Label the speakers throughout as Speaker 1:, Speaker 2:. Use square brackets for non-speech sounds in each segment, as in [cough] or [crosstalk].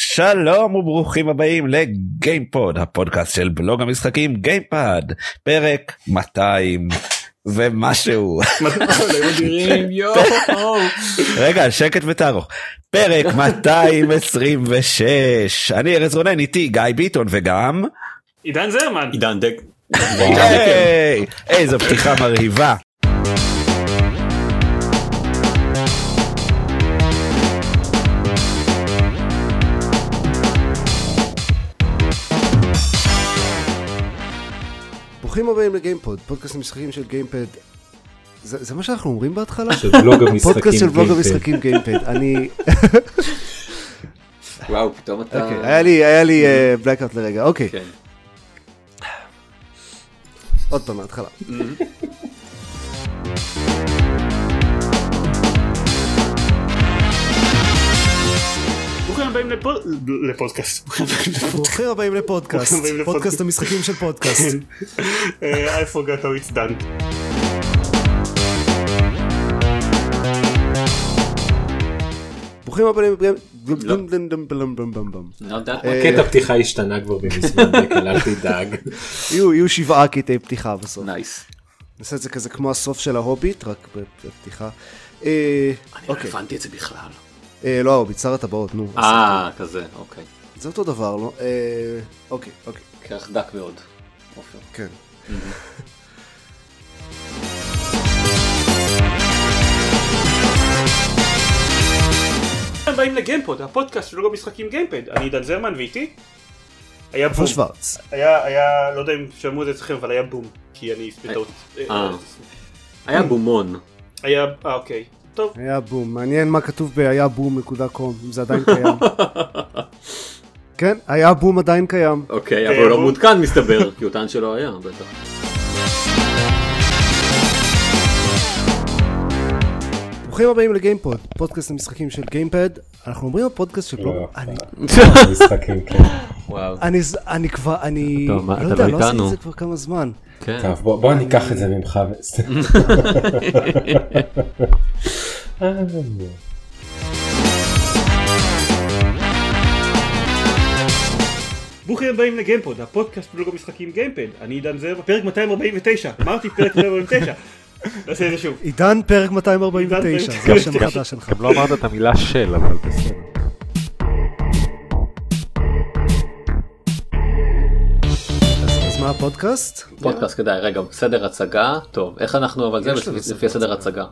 Speaker 1: שלום וברוכים הבאים לגיימפוד הפודקאסט של בלוג המשחקים גיימפד פרק 200 ומשהו [laughs] רגע שקט וטרו
Speaker 2: [laughs]
Speaker 1: פרק 226 אני ארז רונן איתי גיא ביטון וגם
Speaker 3: עידן זרמן.
Speaker 4: עידן דק.
Speaker 1: היי, איזו פתיחה מרהיבה.
Speaker 5: ברוכים הבאים לגיימפוד, פודקאסט המשחקים של גיימפד. זה, זה מה שאנחנו אומרים בהתחלה?
Speaker 4: של בלוג המשחקים.
Speaker 5: פודקאסט של בלוג המשחקים גיימפד. אני...
Speaker 6: כן. וואו, פתאום אתה...
Speaker 5: אוקיי, היה לי, היה לי בלקארט לרגע, אוקיי.
Speaker 6: כן.
Speaker 5: עוד פעם מההתחלה.
Speaker 3: ברוכים הבאים לפוד-
Speaker 4: [laughs]
Speaker 3: לפודקאסט.
Speaker 5: ברוכים הבאים לפודקאסט,
Speaker 3: ברוכים הבאים לפודקאסט.
Speaker 5: פודקאסט המשחקים של פודקאסט.
Speaker 6: כן.
Speaker 3: אה, I forgot how it's done.
Speaker 5: ברוכים הבאים...
Speaker 6: לא.
Speaker 4: לא
Speaker 6: Not that
Speaker 5: אה,
Speaker 6: one.
Speaker 4: קטע פתיחה השתנה כבר
Speaker 3: [laughs]
Speaker 4: במזמן דקל, אל תדאג.
Speaker 5: יהיו יהיו שבעה קטעי פתיחה בסוף.
Speaker 6: נייס.
Speaker 5: נעשה את זה כזה כמו הסוף של ההוביט, רק בפתיחה. אה,
Speaker 6: אני לא
Speaker 5: אוקיי,
Speaker 6: הבנתי את זה בכלל.
Speaker 5: אה, לא ההוביט, שר הטבעות, נו.
Speaker 6: אה, כזה, אוקיי.
Speaker 5: זה אותו דבר, לא? אה, אוקיי, אוקיי,
Speaker 6: כך דק מאוד.
Speaker 4: אוקיי.
Speaker 6: עופר.
Speaker 5: כן.
Speaker 3: ברוכים הבאים לגיימפוד, הפודקאסט של לוגו משחקים גיימפד. אני עידן זרמן ואיתי. היה בום.
Speaker 5: פול שוורץ.
Speaker 3: היה, היה, לא יודע אם שמעו את זה אצלכם, אבל היה בום. כי אני בטעות.
Speaker 4: אה. היה בומון.
Speaker 3: היה, אה, אוקיי. טוב.
Speaker 5: היה בום, מעניין מה כתוב בהיה בום נקודה קום, אם זה עדיין [laughs] קיים. כן, היה בום עדיין קיים.
Speaker 4: אוקיי, אבל הוא לא
Speaker 3: בום.
Speaker 4: מעודכן מסתבר, כי הוא טען שלא היה, בטח.
Speaker 5: ברוכים הבאים לגיימפוד, פודקאסט המשחקים של גיימפד. אנחנו אומרים הפודקאסט
Speaker 4: לא,
Speaker 5: של בלוג, אני-
Speaker 7: משחקים, כן.
Speaker 6: וואו.
Speaker 5: אני ז- אני כבר, אני,
Speaker 4: טוב, מה, אתה
Speaker 5: לא יודע,
Speaker 4: לא
Speaker 5: לא עשיתי
Speaker 4: איתנו.
Speaker 5: את זה כבר כמה זמן.
Speaker 4: כן.
Speaker 7: טוב, בוא בוא אני אקח את זה ממך. ו- סתם.
Speaker 3: ברוכים הבאים לגיימפוד, הפודקאסט של לוגו משחקים גיימפד. אני עידן זרמן, פרק 249. אמרתי
Speaker 4: [laughs]
Speaker 3: פרק 249. נעשה את זה שוב.
Speaker 5: עידן פרק 249, זה השם
Speaker 3: עידן-
Speaker 5: החדש שלך.
Speaker 8: גם לא אמרת את המילה של, אבל בסדר.
Speaker 5: אז מה הפודקאסט?
Speaker 4: פודקאסט כדאי, רגע, סדר הצגה, טוב, איך אנחנו אבל זה
Speaker 5: יש לנו
Speaker 4: לפי-
Speaker 5: סדר
Speaker 4: לפי הסדר הצגה.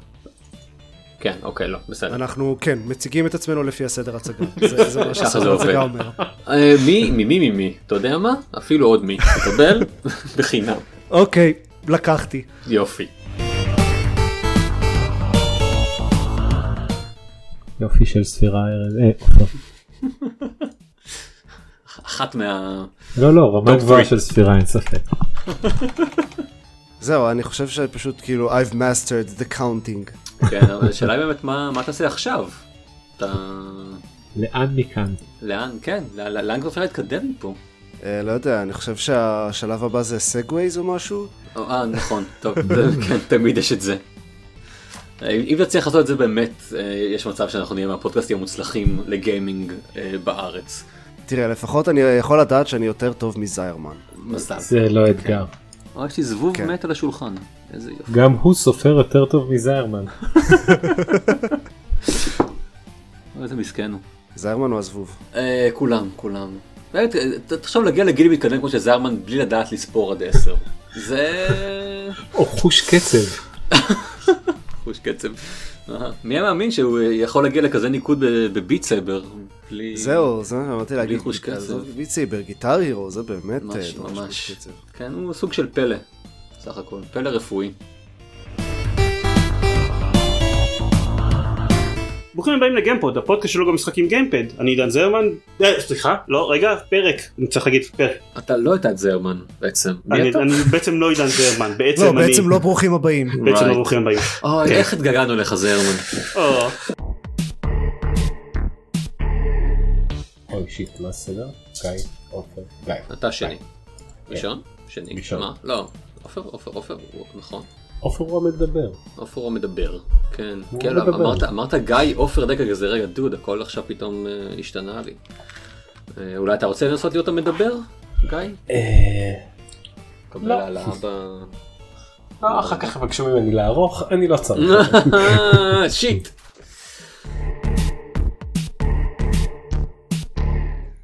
Speaker 4: כן, אוקיי, לא, בסדר.
Speaker 5: אנחנו, כן, מציגים את עצמנו לפי הסדר
Speaker 4: [laughs]
Speaker 5: הצגה. זה- זה מה
Speaker 4: ככה זה
Speaker 5: שהסדר
Speaker 4: עובד.
Speaker 5: הצגה אומר.
Speaker 4: אה, מי, מי, מי, מי, מי, אתה יודע מה? אפילו עוד מי, תקבל [laughs] בחינם.
Speaker 5: אוקיי, לקחתי.
Speaker 4: יופי.
Speaker 7: [laughs] יופי של ספירה ארז. אה, עופר.
Speaker 4: אחת מה...
Speaker 7: לא לא רמה
Speaker 4: Top
Speaker 7: גבוהה
Speaker 4: three.
Speaker 7: של ספירה אין ספק.
Speaker 5: זהו, אני חושב שפשוט כאילו, I've mastered the counting.
Speaker 4: כן, אבל השאלה היא באמת מה מה תעשה עכשיו? אתה...
Speaker 7: לאן מכאן?
Speaker 4: לאן, כן, לא- לא- לאן כבר אפשר להתקדם מפה?
Speaker 5: אה, לא יודע, אני חושב שהשלב הבא זה סגווייז או משהו?
Speaker 4: או, אה, נכון, טוב, זה- כן, תמיד יש את זה. אה, אם תצליח לעשות את זה באמת, אה, יש מצב שאנחנו נהיה מהפודקאסטים המוצלחים לגיימינג אה, בארץ.
Speaker 5: תראה, לפחות אני יכול לדעת שאני יותר טוב מזיירמן.
Speaker 4: מזל.
Speaker 7: זה לא אתגר.
Speaker 4: אה, יש לי זבוב
Speaker 5: כן.
Speaker 4: מת על השולחן. איזה יופי.
Speaker 7: גם הוא סופר יותר טוב מזיירמן.
Speaker 4: אה, איזה מסכן הוא.
Speaker 5: זיירמן הוא הזבוב.
Speaker 4: אה, כולם, כולם. באמת, אה, ת- תחשוב להגיע לגיל מתקדם כמו שזרמן בלי לדעת לספור עד עשר. זה...
Speaker 7: [laughs] או חוש קצב.
Speaker 4: חוש קצב. אה, מי היה מאמין שהוא אה, יכול להגיע לכזה ניקוד ב- בביט סייבר? בלי-
Speaker 5: זהו, זה מה שאמרתי להגיד.
Speaker 4: חוש קצב.
Speaker 5: עזוב, ויציבר, גיטר הירו, זה באמת...
Speaker 4: ממש,
Speaker 5: אה,
Speaker 4: ממש.
Speaker 5: חוש קצב.
Speaker 4: כן, הוא סוג של פלא, סך הכל, פלא רפואי.
Speaker 3: ברוכים הבאים לגיימפוד, הפודקאסט של לוגו משחקים גיימפד. אני עידן זרמן. אה, סליחה, לא, רגע, פרק. אני צריך להגיד פרק.
Speaker 4: אתה לא הייתה את זרמן בעצם.
Speaker 3: אני, אני בעצם לא עידן זרמן, בעצם
Speaker 5: לא,
Speaker 3: אני...
Speaker 5: בעצם לא ברוכים הבאים.
Speaker 3: בעצם לא
Speaker 4: Right.
Speaker 3: ברוכים הבאים.
Speaker 4: אוי, איך התגעגענו לך זרמן.
Speaker 3: או,
Speaker 7: אוי שיט מה הסדר? גיא, עופר, גיא.
Speaker 4: אתה שני. ראשון? שני.
Speaker 7: ראשון.
Speaker 4: מה? לא. עופר, עופר, עופר, הוא- נכון.
Speaker 7: עופר הוא המדבר.
Speaker 4: עופר הוא מדבר. כן.
Speaker 7: הוא
Speaker 4: כן, לא,
Speaker 7: מדבר.
Speaker 4: אמרת- אמרת גיא עופר דקה כזה, רגע, דוד, הכל עכשיו פתאום אה, השתנה לי. אה, אולי אתה רוצה לנסות להיות המדבר, גיא?
Speaker 7: אה,
Speaker 4: קבל
Speaker 7: לא.
Speaker 4: העלאה ב...
Speaker 7: אה, אחר כך יבקשו ממני לערוך, אני לא צריך.
Speaker 4: שיט.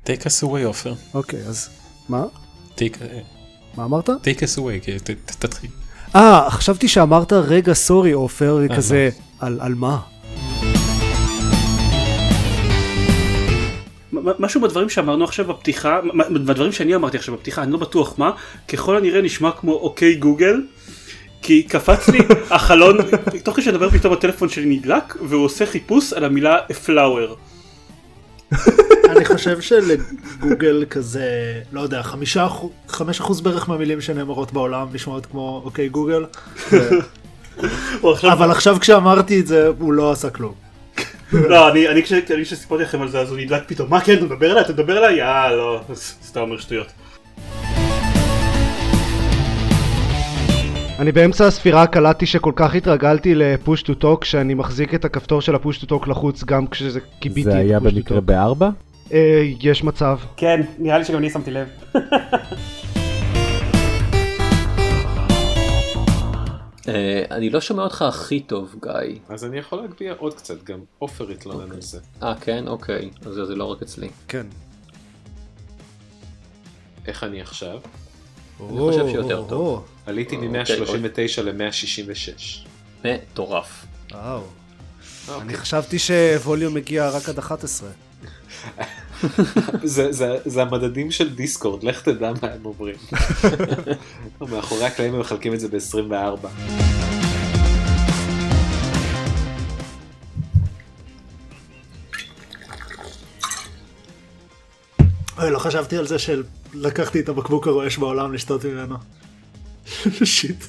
Speaker 9: take us away עופר.
Speaker 5: אוקיי, אז מה?
Speaker 9: take אה,
Speaker 5: מה אמרת?
Speaker 9: take us away, כן, ת- ת- תתחיל.
Speaker 5: אה, חשבתי שאמרת רגע סורי עופר,
Speaker 4: אה,
Speaker 5: כזה,
Speaker 4: לא.
Speaker 5: על על מה?
Speaker 3: מ- מ- משהו בדברים שאמרנו עכשיו בפתיחה, מ- מ- בדברים שאני אמרתי עכשיו בפתיחה, אני לא בטוח מה, ככל הנראה נשמע כמו אוקיי גוגל, כי
Speaker 5: [laughs]
Speaker 3: קפץ לי החלון, תוך כדי שאני מדבר פתאום הטלפון שלי נדלק, והוא עושה חיפוש על המילה פלאואר.
Speaker 10: אני חושב שלגוגל כזה, לא יודע, חמישה אחוז- חמש אחוז בערך מהמילים שנאמרות בעולם נשמעות כמו אוקיי גוגל, אבל עכשיו כשאמרתי את זה הוא לא עשה כלום.
Speaker 3: לא, אני- אני כש- אני כשסיפרתי לכם על זה אז הוא נדלק פתאום, מה כן, אתה מדבר אליי? אתה מדבר אליי? אה, לא, ס- סתם אומר שטויות.
Speaker 5: אני באמצע הספירה קלטתי שכל כך התרגלתי לפוש טו טוק שאני מחזיק את הכפתור של הפוש טו טוק לחוץ גם כשזה קיביתי
Speaker 8: זה היה
Speaker 5: את push to
Speaker 8: במקרה
Speaker 5: talk.
Speaker 8: בארבע?
Speaker 5: אה, יש מצב.
Speaker 3: כן, נראה לי שגם אני שמתי לב.
Speaker 4: אה, אני לא שומע אותך הכי טוב, גיא.
Speaker 8: אז אני יכול להגביה עוד קצת, גם עופר התלונן על זה.
Speaker 4: אה, כן? אוקיי. אז זה זה לא רק אצלי.
Speaker 5: כן.
Speaker 8: איך אני עכשיו?
Speaker 4: אני חושב שיותר טוב.
Speaker 8: עליתי
Speaker 4: אוקיי,
Speaker 8: מ-139 ל-166.
Speaker 4: מטורף.
Speaker 5: וואו.
Speaker 4: אוקיי.
Speaker 5: אני חשבתי שווליום הגיע רק עד 11.
Speaker 8: זה- זה- זה המדדים של דיסקורד, לך תדע מה הם [laughs] אומרים. מאחורי הקלעים הם מחלקים את זה ב-24.
Speaker 10: אוי, לא חשבתי על זה שלקחתי את הבקבוק הרועש בעולם לשתות ממנו. [laughs] שיט.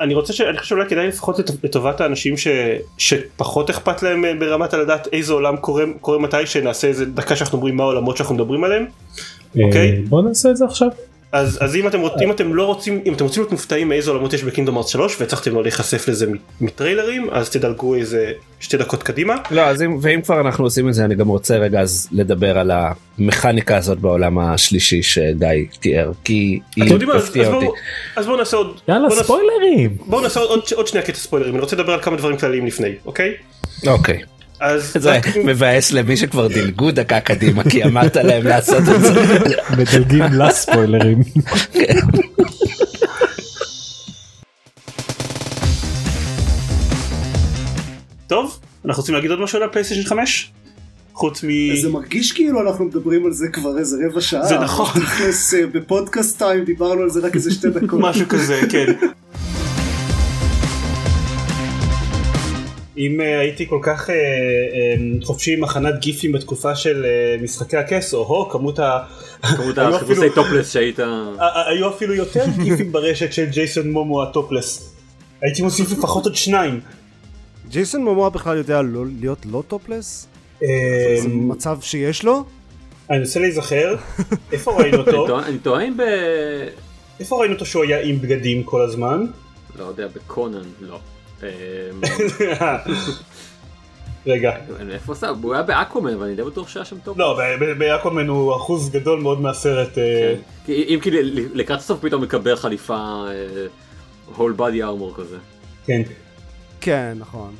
Speaker 3: אני רוצה ש... אני חושב שאולי כדאי לפחות לט- לטובת האנשים ש... שפחות אכפת להם אה, ברמת הלדעת איזה עולם קורה, קורה מתי שנעשה איזה דקה שאנחנו אומרים מה העולמות שאנחנו מדברים עליהם אוקיי.
Speaker 7: אה, בוא נעשה את זה עכשיו.
Speaker 3: אז, אז אם, אתם, רוצ- אם אתם לא רוצים אם אתם רוצים להיות מופתעים מאיזה עולמות יש בקינדום ארץ 3 והצלחתם לא להיחשף לזה מ- מטריילרים אז תדלגו איזה שתי דקות קדימה
Speaker 2: לא, אז אם, ואם כבר אנחנו עושים את זה, אני גם רוצה רגע אז לדבר על המכניקה הזאת בעולם השלישי שגיא תיאר, כי היא
Speaker 3: אתם יודעים מה, אז- אז
Speaker 2: הפתיעה אותי.
Speaker 3: בואו אז בואו נעשה עוד
Speaker 7: יאללה,
Speaker 3: בוא נעשה-
Speaker 7: ספוילרים!
Speaker 3: בואו נעשה עוד, עוד, עוד שנייה קטע ספוילרים אני רוצה לדבר על כמה דברים כלליים לפני אוקיי
Speaker 2: אוקיי.
Speaker 3: אז
Speaker 2: זה
Speaker 3: רק-
Speaker 2: מבאס למי שכבר דילגו דקה קדימה, כי אמרת להם לעשות את זה.
Speaker 7: מדלגים לספוילרים.
Speaker 3: טוב אנחנו רוצים להגיד עוד משהו על הפלייסטיישן 5 חוץ מ...
Speaker 10: זה מרגיש כאילו אנחנו מדברים על זה כבר איזה רבע שעה.
Speaker 3: זה נכון.
Speaker 10: תכלס, אה, בפודקאסט טיים דיברנו על זה רק איזה שתי דקות.
Speaker 3: משהו כזה, כן. אם אה, הייתי כל כך אה, אה, חופשי עם הכנת גיפים בתקופה של אה, משחקי הכס, או-הו, כמות ה...
Speaker 4: כמות
Speaker 3: היו
Speaker 4: החיפושי
Speaker 3: אפילו-
Speaker 4: טופלס שהיית...
Speaker 3: ה- ה- היו אפילו יותר גיפים ברשת של ג'ייסון מומו הטופלס. הייתי מוסיף לפחות עוד שניים.
Speaker 5: ג'ייסון מומואה בכלל יודע לא- להיות לא טופלס?
Speaker 3: אה,
Speaker 5: זה מצב שיש לו?
Speaker 3: אני מנסה להיזכר, איפה ראינו
Speaker 4: אני
Speaker 3: אותו?
Speaker 4: טוע- אני טועה אם ב...
Speaker 3: איפה ראינו אותו שהוא היה עם בגדים כל
Speaker 4: [laughs]
Speaker 3: הזמן?
Speaker 4: לא יודע, בקונן, לא. אה,
Speaker 3: רגע.
Speaker 4: איפה עשה? הוא היה באקומן, ואני די בטוח שהיה שם טוב.
Speaker 3: לא, ב- ב- באקומן הוא אחוז גדול מאוד מהסרט. אה,
Speaker 4: כי אם כי ל- לקראת הסוף פתאום מקבל חליפה אה, הול בדי ארמור כזה.
Speaker 3: כן.
Speaker 5: כן, נכון.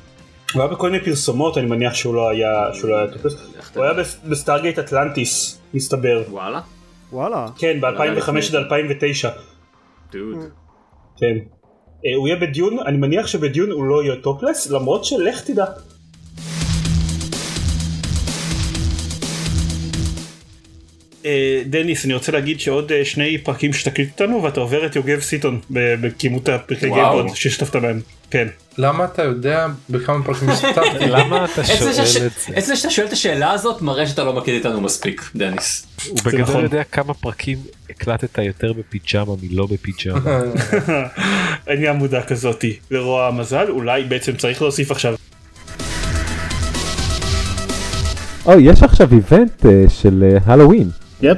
Speaker 3: הוא היה בכל מיני פרסומות, אני מניח שהוא לא היה, שהוא לא היה תופס.
Speaker 4: איך אתה- אה,
Speaker 3: הוא היה בס- בסטארגייט אטלנטיס, מסתבר.
Speaker 4: וואלה?
Speaker 5: וואלה.
Speaker 4: לא,
Speaker 3: כן, ב-2005 עד 2009.
Speaker 4: דוד.
Speaker 3: כן. אה, הוא יהיה בדיון, אני מניח שבדיון הוא לא יהיה טופלס, למרות שלך תדע. אה, דניס, אני רוצה להגיד שעוד אה, שני פרקים שתקליט אותנו ואתה עובר את יוגב סיטון ב- בכימות הפרקי
Speaker 11: וואו.
Speaker 3: גיימפוד שהשתתפת בהם. כן.
Speaker 11: למה אתה יודע בכמה פרקים השתתפתי?
Speaker 8: למה אתה שואל
Speaker 4: עצם
Speaker 8: את
Speaker 4: ש-
Speaker 8: זה?
Speaker 4: עצם שאתה שואל את השאלה הזאת מראה שאתה לא מכיר איתנו מספיק, דניס.
Speaker 8: הוא בגדול
Speaker 3: נכון.
Speaker 8: יודע כמה פרקים הקלטת יותר בפיג'מה מלא בפיג'מה.
Speaker 3: אין לי עמודה כזאתי. לרוע המזל, אולי בעצם צריך להוסיף עכשיו
Speaker 8: אוי, יש עכשיו איבנט אה, של אה, הלואוין.
Speaker 10: יפ.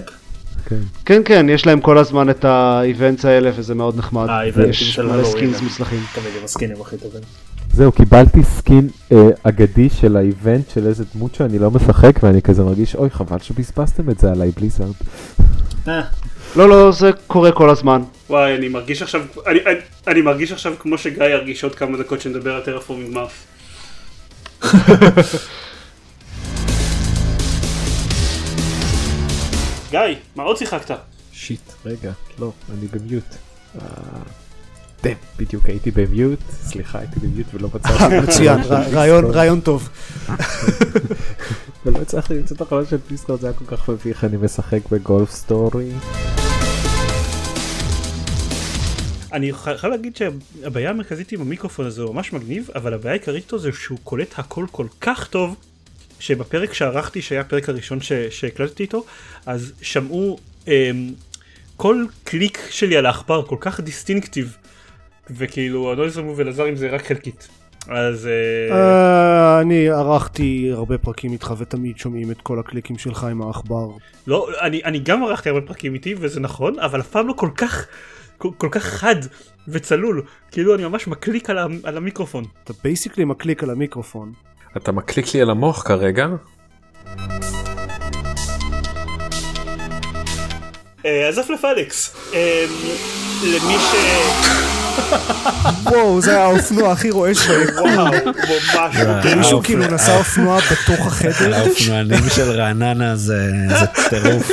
Speaker 5: כן, כן, יש להם כל הזמן את האיבנטס האלה וזה מאוד נחמד.
Speaker 10: האיבנטים
Speaker 5: יש
Speaker 10: של
Speaker 5: מלא
Speaker 10: הלואוין.
Speaker 5: סקינס מוצלחים.
Speaker 10: תמיד הם הסקינים הכי טובים.
Speaker 12: זהו, קיבלתי סקין אה, אגדי של האיבנט של איזה דמות שאני לא משחק ואני כזה מרגיש, אוי חבל שבזבזתם את זה עליי בליזארד.
Speaker 5: לא, לא, זה קורה כל הזמן.
Speaker 3: וואי, אני מרגיש עכשיו, אני, אני, אני מרגיש עכשיו כמו שגיא ירגיש עוד כמה דקות שנדבר על טרפורמינג מארס. גיא, מה עוד שיחקת?
Speaker 12: שיט, רגע, לא, אני במיוט. אה, דם, בדיוק הייתי במיוט, סליחה הייתי במיוט ולא [laughs] מצאתי.
Speaker 5: מצוין,
Speaker 12: של
Speaker 5: רע- [laughs]
Speaker 12: דיסקורד.
Speaker 5: רעיון- רעיון טוב.
Speaker 12: ולא הצלחתי למצוא את החבר של דיסקורד, זה היה כל כך מביך, אני משחק בגולף סטורי.
Speaker 3: אני חי- חייב להגיד שהבעיה המרכזית עם המיקרופון הזה הוא ממש מגניב, אבל הבעיה העיקרית איתו זה שהוא קולט הכל כל כך טוב, שבפרק שערכתי, שהיה הפרק הראשון ש- שהקלטתי איתו, אז שמעו אמ, כל קליק שלי על העכבר כל כך דיסטינקטיב, וכאילו הנויז המוב אלעזר עם זה רק חלקית. אז... אה,
Speaker 5: אה, אני ערכתי הרבה פרקים איתך ותמיד שומעים את כל הקליקים שלך עם העכבר.
Speaker 3: לא, אני, אני גם ערכתי הרבה פרקים איתי, וזה נכון, אבל אף פעם לא כל כך, כל, כל כך חד וצלול. כאילו אני ממש מקליק על, ה, על המיקרופון.
Speaker 5: אתה בייסיקלי מקליק על המיקרופון.
Speaker 11: [laughs] אתה מקליק לי על המוח כרגע?
Speaker 3: אה, אז אף אלכס, אה, למי ש...
Speaker 5: וואו, זה היה האופנוע הכי רועש [laughs] בהם.
Speaker 3: וואו, ממש.
Speaker 5: מישהו כאילו נסע אופנוע בתוך החדר.
Speaker 1: האופנוענים של רעננה זה זה טירוף.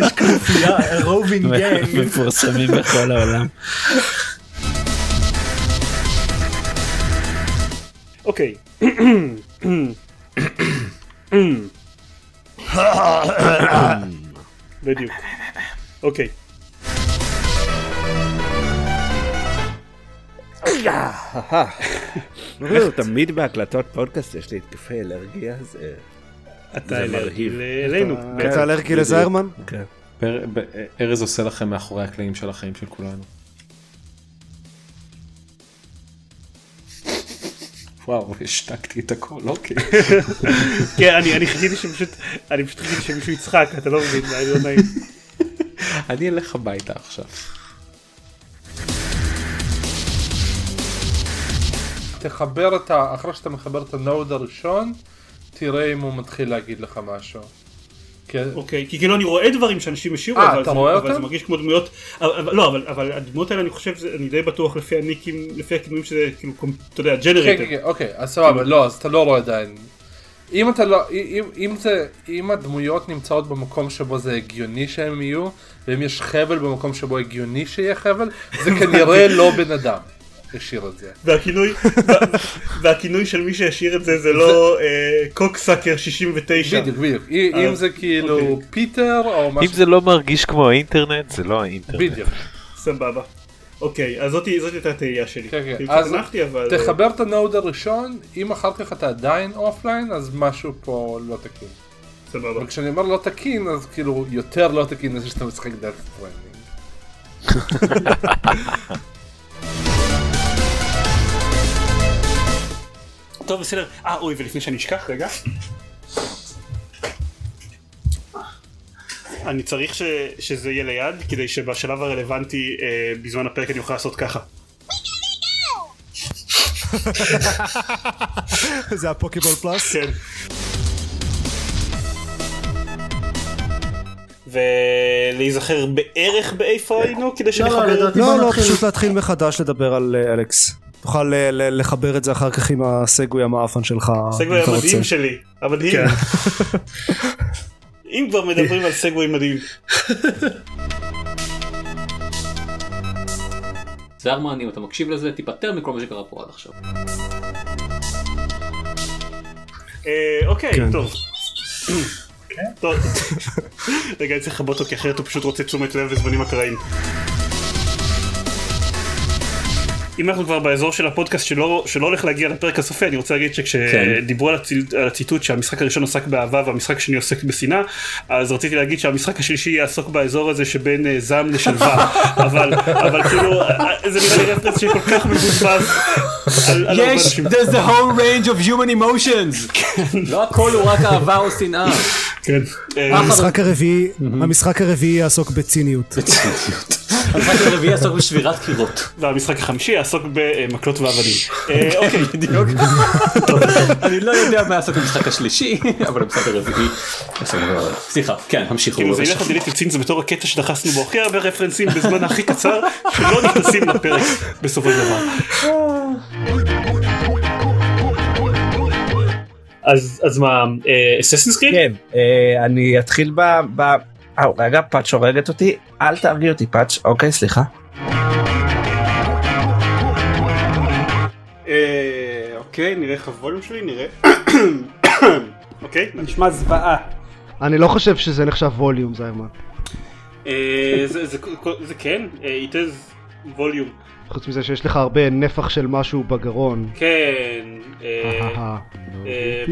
Speaker 10: יש כנופיה, רובין גיים.
Speaker 1: מפורסמים בכל העולם.
Speaker 3: אוקיי. בדיוק. אוקיי.
Speaker 1: איך תמיד בהקלטות פודקאסט יש לי התקפי אלרגיה זה
Speaker 3: אתה
Speaker 1: זה
Speaker 3: אלרגי
Speaker 1: מרהיב.
Speaker 3: ל- אלינו.
Speaker 5: אתה
Speaker 11: כן,
Speaker 5: אלרגי
Speaker 11: בדיוק.
Speaker 5: לזיירמן?
Speaker 11: כן. פר- ב- ארז עושה לכם מאחורי הקלעים של החיים של כולנו. וואו, השתקתי את הכל,
Speaker 13: [laughs]
Speaker 11: אוקיי.
Speaker 3: כן, אני אני חיכיתי שפשוט, אני פשוט חיכיתי שמישהו יצחק, אתה לא מבין, זה היה לא נעים.
Speaker 11: אני אלך הביתה עכשיו. תחבר את ה... אחרי שאתה מחבר את הנוד הראשון, תראה אם הוא מתחיל להגיד לך משהו. כן.
Speaker 3: אוקיי, כי כאילו אני רואה דברים שאנשים השאירו,
Speaker 11: אה,
Speaker 3: אבל
Speaker 11: אתה
Speaker 3: זה-
Speaker 11: רואה
Speaker 3: אבל
Speaker 11: אותם?
Speaker 3: זה מרגיש כמו דמויות, אבל- אבל- לא, אבל- אבל הדמויות האלה אני חושב, זה- אני די בטוח לפי הניקים, לפי הכינויים שזה כאילו, קומ- אתה יודע,
Speaker 11: כן, כן,
Speaker 3: ג'נרטר.
Speaker 11: כן, אוקיי, אז סבבה, לא, אז אתה לא רואה עדיין. אם אתה לא, אם, אם זה, אם הדמויות נמצאות במקום שבו זה הגיוני שהם יהיו, ואם יש חבל במקום שבו הגיוני שיהיה חבל, זה כנראה לא בן אדם. השאיר את זה.
Speaker 3: והכינוי, וה- והכינוי של מי שהשאיר את זה זה לא אה, קוקסאקר 69.
Speaker 11: בדיוק, בדיוק. אם
Speaker 3: אה,
Speaker 11: אם זה כאילו
Speaker 3: אוקיי.
Speaker 11: פיטר או
Speaker 13: אם
Speaker 11: משהו,
Speaker 13: זה לא מרגיש כמו האינטרנט, זה לא האינטרנט.
Speaker 11: בדיוק.
Speaker 3: סבבה. אוקיי, אז זאתי זאת הייתה התהייה שלי.
Speaker 11: כן, כן.
Speaker 3: כאילו,
Speaker 11: אז
Speaker 3: צנחתי, אבל...
Speaker 11: תחבר את הנוד הראשון, אם אחר כך אתה עדיין אופליין, אז משהו פה לא תקין.
Speaker 3: סבבה.
Speaker 11: וכשאני אומר לא תקין, אז כאילו יותר לא תקין מזה שאתה משחק דאט סטרנדינג.
Speaker 3: טוב, בסדר. אה, אוי, ולפני שאני אשכח, רגע. אני צריך ש... שזה יהיה ליד, כדי שבשלב הרלוונטי, אה, בזמן הפרק אני אוכל לעשות ככה.
Speaker 5: זה הפוקיבול פלאס?
Speaker 3: כן. ולהיזכר בערך באיפה היינו, כדי שנחבר...
Speaker 5: כן. לא, לא, פשוט להתחיל מחדש לדבר על אה, אלכס. תוכל אה, ל- לחבר את זה אחר כך עם הסגווי המאפן שלך.
Speaker 3: הסגווי
Speaker 5: אם אתה
Speaker 3: המדהים
Speaker 5: רוצה.
Speaker 3: שלי,
Speaker 5: כן.
Speaker 3: המדהים. [laughs] אם כבר מדברים על סגווי מדהים.
Speaker 4: זרמן, אם אתה מקשיב לזה, תיפטר מכל מה שקרה פה עד עכשיו.
Speaker 3: אה, אוקיי,
Speaker 4: כן.
Speaker 3: טוב. טוב. רגע, אני צריך לכבות אותו, כי אחרת הוא פשוט רוצה תשומת לב וזמנים אקראיים. אם אנחנו כבר באזור של הפודקאסט שלא, שלא הולך להגיע לפרק הסופי, אני רוצה להגיד שכשדיברו על, הצי- על הציטוט שהמשחק הראשון עסק באהבה והמשחק השני עוסק בשנאה, אז רציתי להגיד שהמשחק השלישי יעסוק באזור הזה שבין אה, זעם לשלווה, אבל, אבל כאילו, אה, זה נראה לי רפרנס שכל כך מבוזבז. על- על הרבה
Speaker 6: יש,
Speaker 3: אנשים.
Speaker 6: there's a whole range of human emotions.
Speaker 4: לא הכל הוא רק אהבה או שנאה.
Speaker 3: כן.
Speaker 5: Mm-hmm. המשחק הרביעי, המשחק הרביעי יעסוק בציניות.
Speaker 4: המשחק הרביעי יעסוק בשבירת קירות.
Speaker 3: והמשחק החמישי יעסוק במקלות ואבנים. אה, אוקיי.
Speaker 14: [laughs]
Speaker 4: בדיוק. אני לא יודע מה יעסוק במשחק השלישי, אבל המשחק הרביעי. סליחה, כן, המשיכו.
Speaker 3: כאילו זה ילך על דלית ציין זה בתור הקטע שדחסנו בו הכי הרבה רפרנסים בזמן הכי קצר שלא נכנסים לפרק בסופו של דבר.
Speaker 15: אז אז מה אססינס קריד?
Speaker 16: כן, אה, אני אתחיל ב... ב... אה, רגע, פאץ' הורגת אותי, אל תהרגי אותי פאץ', אוקיי, סליחה.
Speaker 3: אה, אוקיי נראה איך הווליום שלי נראה. [coughs] אוקיי
Speaker 14: נשמע זוועה.
Speaker 10: אני לא חושב שזה נחשב ווליום זיירמן.
Speaker 3: אה, זה- זה- זה כן אה, it has volume.
Speaker 10: חוץ מזה שיש לך הרבה נפח של משהו בגרון.
Speaker 3: כן. אה,
Speaker 10: אהה.
Speaker 3: אה,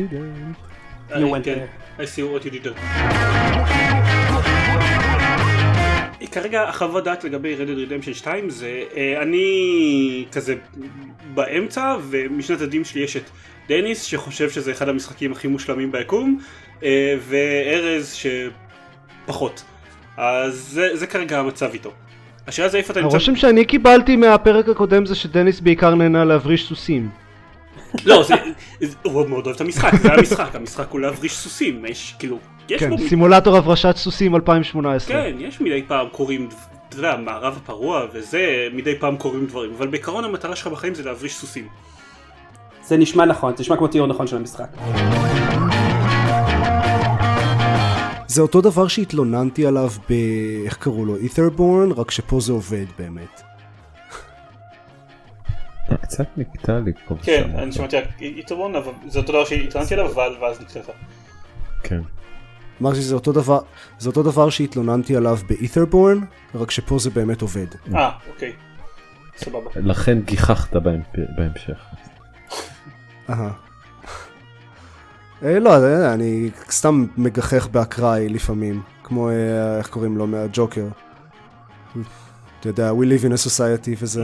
Speaker 3: I
Speaker 10: You went
Speaker 3: can- I see what you did there. כרגע החוות דעת לגבי Red Dead Redemption 2 זה אה, אני כזה באמצע ומשנת הדים שלי יש את דניס שחושב שזה אחד המשחקים הכי מושלמים ביקום אה, וארז שפחות. אז זה, זה כרגע המצב איתו. השאלה זה איפה אתה נמצא...
Speaker 10: הרושם שאני קיבלתי מהפרק הקודם זה שדניס בעיקר נהנה להבריש סוסים.
Speaker 3: לא, זה, זה- הוא מאוד אוהב את המשחק, זה המשחק, המשחק הוא להבריש סוסים, יש כאילו, יש
Speaker 10: כן,
Speaker 3: בו
Speaker 10: סימולטור הברשת סוסים 2018.
Speaker 3: כן, יש מדי פעם קוראים, אתה יודע, המערב הפרוע וזה, מדי פעם קוראים דברים, אבל בעיקרון המטרה שלך בחיים זה להבריש סוסים.
Speaker 14: זה נשמע נכון, זה נשמע כמו תיאור נכון של המשחק.
Speaker 5: זה אותו דבר שהתלוננתי עליו ב... איך קראו לו? אית'רבורן, רק שפה זה עובד באמת.
Speaker 11: קצת נקטע לי פה
Speaker 3: כן,
Speaker 11: ושם.
Speaker 3: אני שמעתי רק יתרון, אבל זה אותו דבר שהתרנתי עליו, אבל ואז נקטעת.
Speaker 7: כן.
Speaker 5: אמרתי שזה אותו דבר, זה אותו דבר שהתלוננתי עליו באית'רבורן, רק שפה זה באמת עובד.
Speaker 3: אה, אוקיי. סבבה.
Speaker 11: לכן גיחכת בהמפ- בהמשך.
Speaker 5: אהה. אה, לא, אה, אני סתם מגחך באקראי לפעמים, כמו אה, איך קוראים לו מהג'וקר. אתה יודע, we live in a society וזה.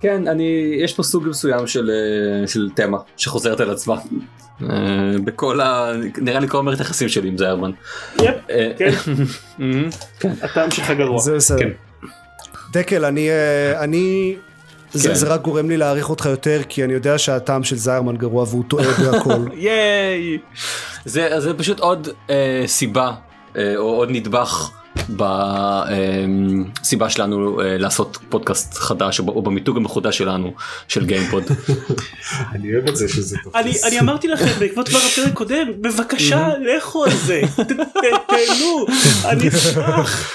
Speaker 4: כן, אני, יש פה סוג מסוים של, אה, של תמה שחוזרת על עצמה. אה, בכל ה... נראה לי כל מערכת היחסים שלי עם זיירמן.
Speaker 3: יפ,
Speaker 4: כן.
Speaker 3: הטעם שלך גרוע.
Speaker 5: זה בסדר. דקל, אני... אה, אני...
Speaker 4: כן.
Speaker 5: זה, זה רק גורם לי להעריך אותך יותר, כי אני יודע שהטעם של זיירמן גרוע והוא טועה בהכל.
Speaker 4: ייי! זה, זה פשוט עוד אה, סיבה, אה, או עוד נדבך בסיבה שלנו אה, לעשות פודקאסט חדש, או, ב- או במיתוג המחודש שלנו, של גיימפוד.
Speaker 7: אני אוהב את זה שזה
Speaker 3: אני אני אמרתי לכם בעקבות כבר הפרק קודם, בבקשה לכו על זה, ת- ת- תהנו, אני [laughs] אשמח.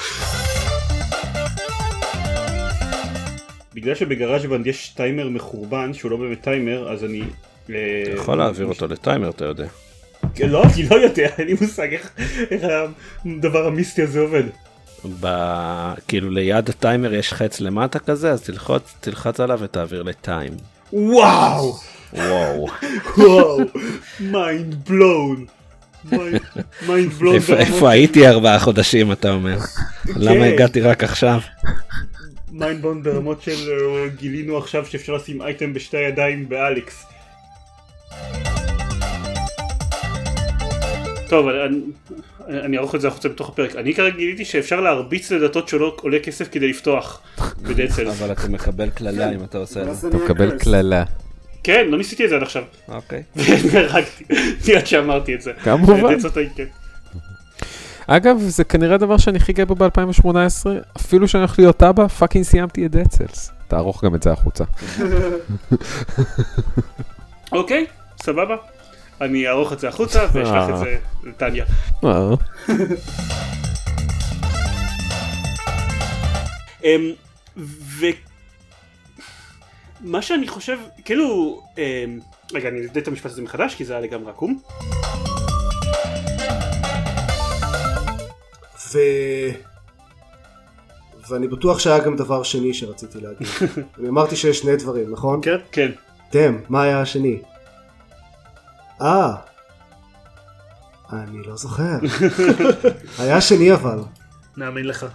Speaker 3: בגלל שבגראז' בנד יש טיימר מחורבן שהוא לא באמת טיימר, אז אני... אה,
Speaker 1: אתה יכול להעביר אותו לטיימר, אתה יודע.
Speaker 3: לא, אני לא יודע, אין לי מושג איך איך הדבר המיסטי הזה עובד.
Speaker 1: ב... כאילו ליד הטיימר יש חץ למטה כזה, אז תלחץ, תלחץ עליו ותעביר לטיים. [laughs]
Speaker 3: וואו!
Speaker 1: וואו.
Speaker 3: וואו! מיינד בלון! מיינד
Speaker 16: לא,
Speaker 3: בלון!
Speaker 1: איפה- איפה הייתי ארבעה חודשים אתה
Speaker 16: [laughs]
Speaker 1: אומר? למה
Speaker 16: כן.
Speaker 1: הגעתי רק עכשיו?
Speaker 3: מיינד בלון ברמות של אה, גילינו עכשיו שאפשר לשים אייטם בשתי ידיים באליקס. טוב, אני- אני אני אערוך את זה החוצה בתוך הפרק. אני כרגע גיליתי שאפשר להרביץ לדלתות שלא עולה כסף כדי לפתוח בדד סלס.
Speaker 1: [laughs] אבל אתה מקבל קללה אם אתה עושה את
Speaker 3: ואז
Speaker 1: זה.
Speaker 11: אתה מקבל קללה.
Speaker 3: כן, לא ניסיתי את זה עד עכשיו. [laughs]
Speaker 1: אוקיי.
Speaker 3: הרגתי, מיד שאמרתי את זה.
Speaker 11: כמובן.
Speaker 3: Dead Cells הייתי- כן. אה,
Speaker 11: אגב, זה כנראה הדבר שאני הכי גאה בו ב-2018, אפילו שאני הולך להיות אבא, פאקינג סיימתי את דד סלס. תערוך גם את זה החוצה.
Speaker 3: אוקיי, סבבה. אני אערוך את זה החוצה ואשלח את זה לטניה.
Speaker 11: אה.
Speaker 3: [laughs] אמ, ו... מה שאני חושב, כאילו... אמ, רגע, אני אבדק את המשפט הזה מחדש, כי זה היה לגמרי עקום.
Speaker 5: ו... ואני בטוח שהיה גם דבר שני שרציתי להגיד. אני אמרתי שיש שני דברים, נכון?
Speaker 3: כן. כן.
Speaker 5: דם, מה היה השני? אה. אני לא [laughs] זוכר. היה שני אבל.
Speaker 17: נאמין לך.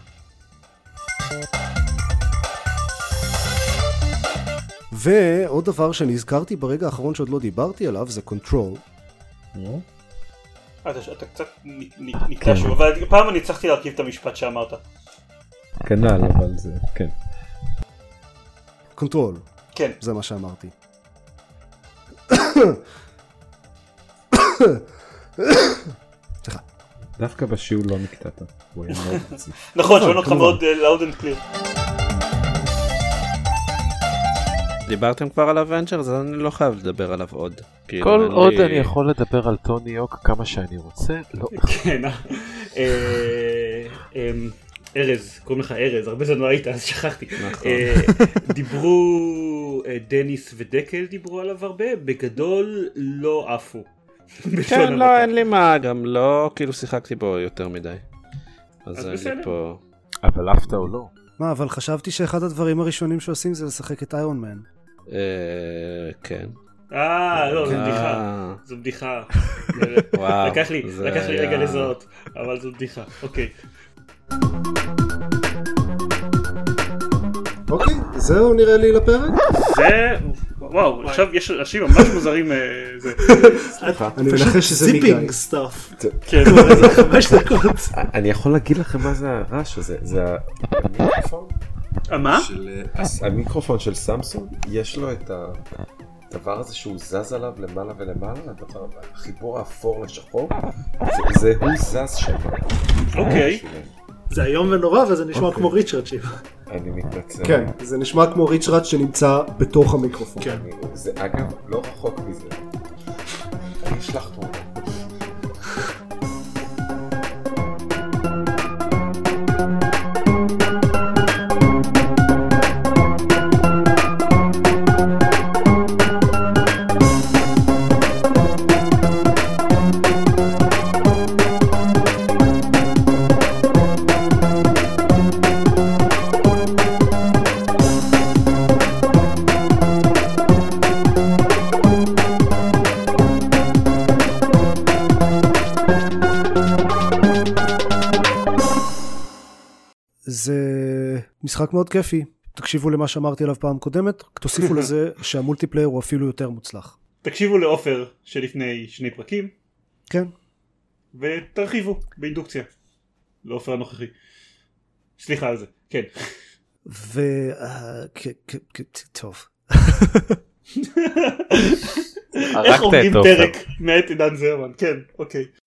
Speaker 5: ועוד דבר שנזכרתי ברגע האחרון שעוד לא דיברתי עליו זה קונטרול.
Speaker 3: אתה אתה קצת נ- נ- נקטע שוב, אבל פעם אני הצלחתי להרכיב את המשפט שאמרת.
Speaker 7: כנ"ל, אבל זה, כן.
Speaker 18: קונטרול.
Speaker 3: כן.
Speaker 18: זה מה שאמרתי.
Speaker 7: דווקא בשיעור לא נקטעת. הוא היה מאוד
Speaker 11: [laughs]
Speaker 7: מציף.
Speaker 3: נכון, שומעים אותך מאוד לאוד אנד קליר.
Speaker 1: דיברתם כבר על אבנג'ר, אז אני לא חייב לדבר עליו עוד. כאילו,
Speaker 12: כל
Speaker 1: אין לי-
Speaker 12: עוד אני יכול לדבר על טוני יוק כמה שאני רוצה, לא.
Speaker 19: כן, אה, אמ, ארז, קוראים לך ארז, הרבה זמן לא היית אז שכחתי.
Speaker 1: נכון.
Speaker 19: אה, דיברו, אה, דניס ודקל דיברו עליו הרבה, בגדול לא עפו. [laughs]
Speaker 1: כן,
Speaker 19: בלשון
Speaker 1: לא,
Speaker 19: המעטה.
Speaker 1: אין לי מה, גם לא כאילו שיחקתי בו יותר מדי.
Speaker 19: אז
Speaker 1: אז אין
Speaker 19: בסדר.
Speaker 1: לי פה...
Speaker 12: אבל עפת או לא?
Speaker 5: מה, אבל חשבתי שאחד הדברים הראשונים שעושים זה לשחק את איירון מן.
Speaker 1: כן.
Speaker 19: אה,
Speaker 3: כן,
Speaker 19: לא, זו
Speaker 1: אה.
Speaker 19: בדיחה. זו בדיחה.
Speaker 1: [laughs] וואו,
Speaker 19: לקח לי,
Speaker 1: זה
Speaker 19: לקח לי רגע
Speaker 1: היה-
Speaker 19: לזהות, אבל זו בדיחה, אוקיי.
Speaker 5: אוקיי, זהו נראה לי לפרק.
Speaker 3: זה, וואו, עכשיו יש אנשים ממש מוזרים. אה, זה.
Speaker 5: אני מנחש שזה מיקאי.
Speaker 10: סטאפ.
Speaker 3: כן.
Speaker 10: חמש דקות.
Speaker 7: אני יכול להגיד לכם מה זה הרעש הזה, זה ה- המיקרופון?
Speaker 3: מה?
Speaker 7: של, אה, הס- המיקרופון של סמסונג, יש לו את הדבר הזה שהוא זז עליו למעלה ולמעלה, הדבר- החיבור האפור לשחור, זה- זה הוא זז שם.
Speaker 3: אוקיי.
Speaker 10: זה איום ונורא וזה
Speaker 5: אוקיי.
Speaker 10: נשמע כמו ריצ'רד שיב.
Speaker 7: אני מתנצל.
Speaker 5: כן, זה נשמע כמו ריצ'רד שנמצא בתוך המיקרופון.
Speaker 10: כן.
Speaker 7: זה אגב לא רחוק מזה. אני אשלח תמונה.
Speaker 5: זה משחק מאוד כיפי. תקשיבו למה שאמרתי עליו פעם קודמת, [laughs] תוסיפו לזה שהמולטיפלייר הוא אפילו יותר מוצלח.
Speaker 3: תקשיבו לעופר שלפני שני פרקים.
Speaker 5: כן.
Speaker 3: ותרחיבו באינדוקציה. לעופר הנוכחי. סליחה על זה, כן.
Speaker 5: ו... אה, כ- כ- כ- טוב.
Speaker 3: איך אומרים פרק מאת עידן זרמן, כן, אוקיי.